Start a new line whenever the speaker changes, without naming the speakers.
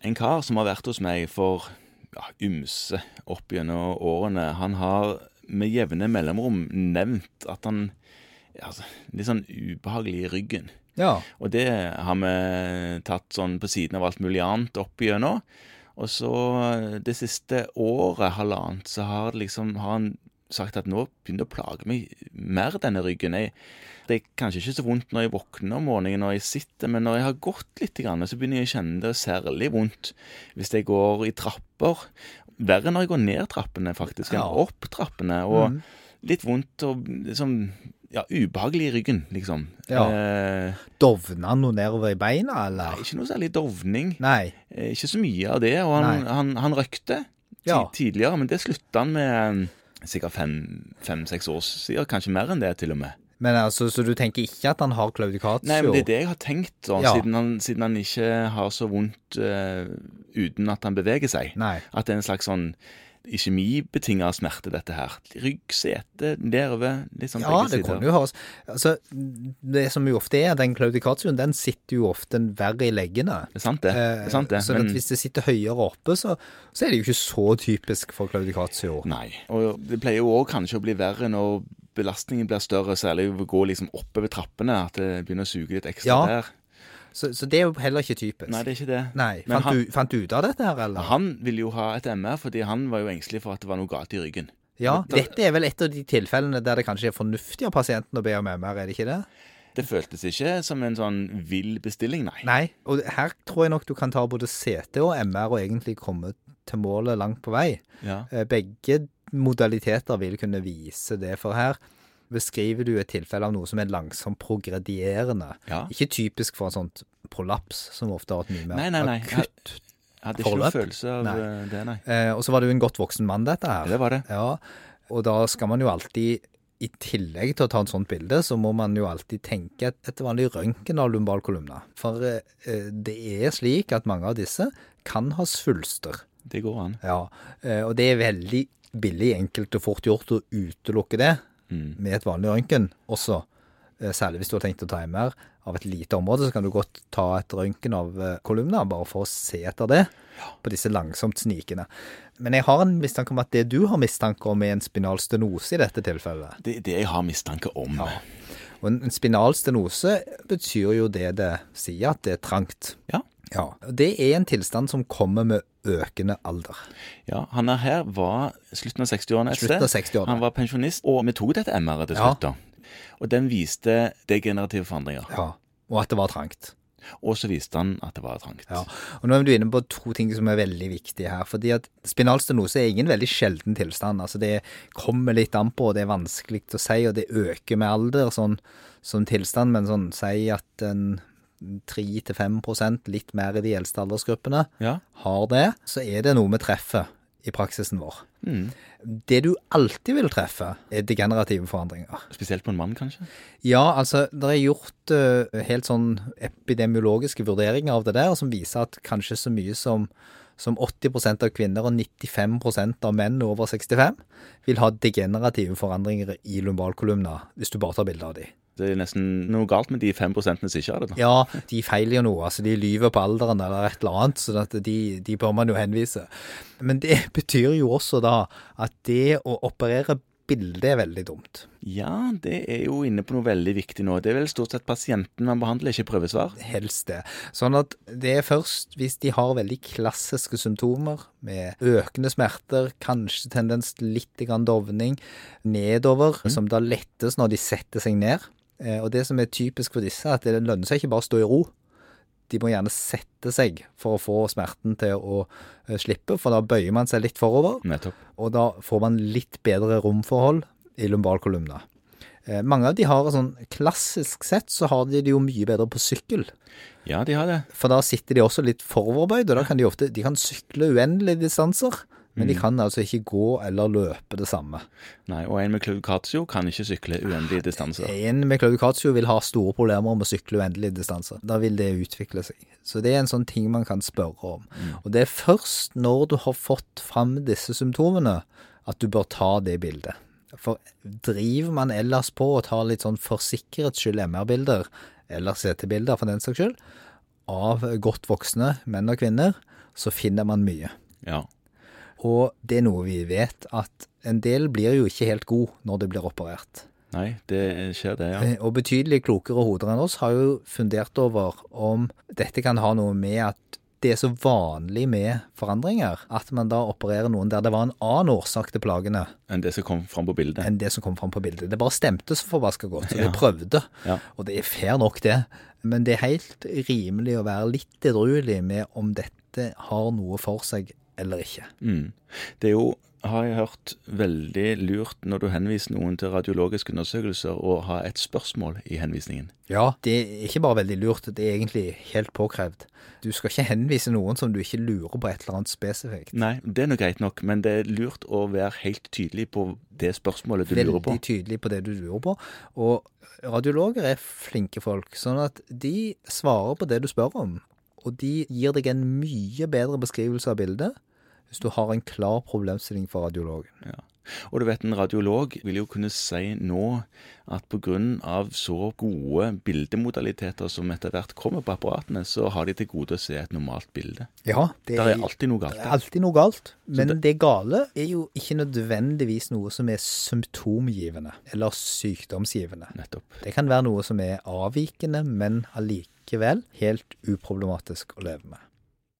En kar som har vært hos meg for ja, ymse opp gjennom årene, han har med jevne mellomrom nevnt at han ja, altså, Litt sånn ubehagelig i ryggen.
Ja.
Og det har vi tatt sånn på siden av alt mulig annet opp igjennom. Og så det siste året, halvannet, så har, det liksom, har han sagt at nå begynner det å plage meg mer denne ryggen. Jeg, det er kanskje ikke så vondt når jeg våkner om morgenen når jeg sitter, men når jeg har gått litt, grann, så begynner jeg å kjenne det særlig vondt hvis jeg går i trapper. Verre når jeg går ned trappene, faktisk, enn
Ja.
opp trappene. Og
Mhm.
litt vondt og liksom ja, ubehagelig i ryggen, liksom.
Ja.
Eh,
Dovna han noe nedover i beina,
Nei,
eller?
ikke noe særlig dovning.
Nei.
Eh, Ikke så mye av det. Og han,
Nei.
han, han røykte ti-
Ja.
tidligere, men det slutta han med eh, sikkert fem-seks år siden. Kanskje mer enn det, til og med.
Men altså, Så du tenker ikke at han har klaudikatio?
Nei, men Det er det jeg har tenkt, sånn,
Ja.
siden, han, siden han ikke har så vondt eh, uten at han beveger seg.
Nei.
At det er en slags sånn iskjemibetinga smerte, dette her. Rygg, sete, nedover. Litt sånn
Ja,
begge
det
sider.
kunne jo høres Altså, det som jo ofte er, den klaudikatioen, den sitter jo ofte verre i leggene.
Det er sant, det. det, er sant, det.
Eh, Så at hvis det sitter høyere oppe, så, så er det jo ikke så typisk for klaudikatio.
Nei. Og det pleier jo òg kanskje å bli verre når belastningen blir større, særlig ved å gå liksom oppover trappene, at det begynner å suge litt ekstra
Ja.
der.
Så, så det er jo heller ikke typisk.
Nei, det er ikke det.
Nei,
Men
fant,
han-
du, fant du ut av dette her, eller?
Han ville jo ha et MR, fordi han var jo engstelig for at det var noe galt i ryggen.
Ja, dette er vel et av de tilfellene der det kanskje er fornuftig av pasienten å be om MR, er det ikke det?
Det føltes ikke som en sånn vill bestilling, nei.
Nei, og her tror jeg nok du kan ta både CT og MR og egentlig komme til målet langt på vei.
Ja.
Eh, Begge modaliteter vil kunne vise det, for her beskriver du et tilfelle av noe som er langsomt progredierende.
Ja.
Ikke typisk for en sånt prolaps, som ofte har et mye mer
Nei, nei, nei.
akutt.
Jeg hadde ikke noen
Forløp?
følelse av
Nei.
eh, det, nei.
Eh, og så var det jo en godt voksen mann, dette
Ja,
her.
Det var det.
Ja, og da skal man jo alltid, i tillegg til å ta et sånt bilde, så må man jo alltid tenke et, et vanlig røntgen av lumbalkolumna. For eh, eh, det er slik at mange av disse kan ha svulster.
Det går an.
Ja, eh, og det er veldig billig, enkelt og fort gjort å utelukke det
Mm.
med et vanlig røntgen også. Eh, Særlig hvis du har tenkt å ta MR av et lite område, så kan du godt ta et røntgen av eh, kolumna, bare for å se etter det på disse langsomt snikende. Men jeg har en mistanke om at det du har mistanke om, er en spinal stenose i dette tilfellet.
Det er det jeg har mistanke om. Ja.
Og en en spinal stenose betyr jo det det sier, at det er trangt.
Ja.
Ja, og Det er en tilstand som kommer med økende alder.
Han er her var slutten av 60-årene et
Slutten av
sted.
60-årene.
Han var pensjonist, og vi tok dette MR-et til
Ja.
slutt, da. Og den viste degenerative forandringer.
Ja, og at det var trangt.
Og så viste han at det var trangt.
Ja. Og nå er du inne på to ting som er veldig viktige her. fordi at Spinal stenose er ingen veldig sjelden tilstand. altså Det kommer litt an på, og det er vanskelig å si, og det øker med alder sånn, som tilstand. Men sånn, si at en 3-5 litt mer i de eldste aldersgruppene,
Ja.
har det, så er det noe vi treffer i praksisen vår.
Mm.
Det du alltid vil treffe, er degenerative forandringer.
Spesielt på en mann, kanskje.
Ja, altså, det er gjort eh, helt sånn epidemiologiske vurderinger av det der, som viser at kanskje så mye som, som 80 av kvinner og 95 av menn over 65 vil ha degenerative forandringer i lumbalkolumna, hvis du bare tar bilde av de.
Det er nesten noe galt med de fem prosentene som ikke har det. da.
Ja, de feiler jo noe, altså de lyver på alderen eller et eller annet, så at de, de bør man jo henvise. Men det betyr jo også da at det å operere bildet er veldig dumt.
Ja, det er jo inne på noe veldig viktig nå. Det er vel stort sett pasienten man behandler, ikke prøvesvar.
helst det. Sånn at det er først hvis de har veldig klassiske symptomer med økende smerter, kanskje tendens til litt grann dovning nedover, som da lettes når de setter seg ned. Eh, Og det som er typisk for disse, er at det lønner seg ikke bare å stå i ro. De må gjerne sette seg for å få smerten til å eh, slippe, for da bøyer man seg litt forover,
Nettopp.
og da får man litt bedre romforhold i lumbalkolumna. Eh, Mange av de har sånn klassisk sett så har de det jo mye bedre på sykkel.
Ja, de har det.
For da sitter de også litt foroverbøyd, og da kan de ofte de kan sykle uendelige distanser, men de kan altså ikke gå eller løpe det samme.
Nei, Og en med klaukatio kan ikke sykle uendelige distanser.
En med klaudikatio vil ha store problemer med å sykle uendelige distanser. Da vil det utvikle seg. Så det er en sånn ting man kan spørre om. Og det er først når du har fått fram disse symptomene, at du bør ta det bildet. For driver man ellers på og tar litt sånn for sikkerhets skyld MR-bilder, eller CT-bilder for den saks skyld, av godt voksne menn og kvinner, så finner man mye.
Ja.
Og det er noe vi vet, at en del blir jo ikke helt god når det blir operert.
Nei, det skjer det, ja.
Eh, Og betydelig klokere hoder enn oss har jo fundert over om dette kan ha noe med at det er så vanlig med forandringer at man da opererer noen der det var en annen årsak til plagene
Enn det som kom fram på bildet.
enn det som kom fram på bildet. Det bare stemte så forbaska godt, så de prøvde.
Ja.
Og det er fair nok, det. Men det er helt rimelig å være litt edruelig med om dette har noe for seg eller ikke.
Mm. Det er jo, har jeg hørt, veldig lurt når du henviser noen til radiologiske undersøkelser, å ha et spørsmål i henvisningen.
Ja, det er ikke bare veldig lurt, det er egentlig helt påkrevd. Du skal ikke henvise noen som du ikke lurer på et eller annet spesifikt.
Nei, det er nå greit nok, men det er lurt å være helt tydelig på det spørsmålet du lurer på.
Veldig tydelig på det du lurer på. Og radiologer er flinke folk, sånn at de svarer på det du spør om. Og de gir deg en mye bedre beskrivelse av bildet hvis du har en klar problemstilling for radiologen.
Ja. Og du vet, en radiolog vil jo kunne si nå at pga. så gode bildemodaliteter som etter hvert kommer på apparatene, så har de til gode å se et normalt bilde.
Ja, det
Der er alltid noe
det
galt.
er alltid noe galt, men
det-
det gale er jo ikke nødvendigvis noe som er symptomgivende eller sykdomsgivende.
Nettopp.
Det kan være noe som er avvikende, men allikevel helt uproblematisk å leve med.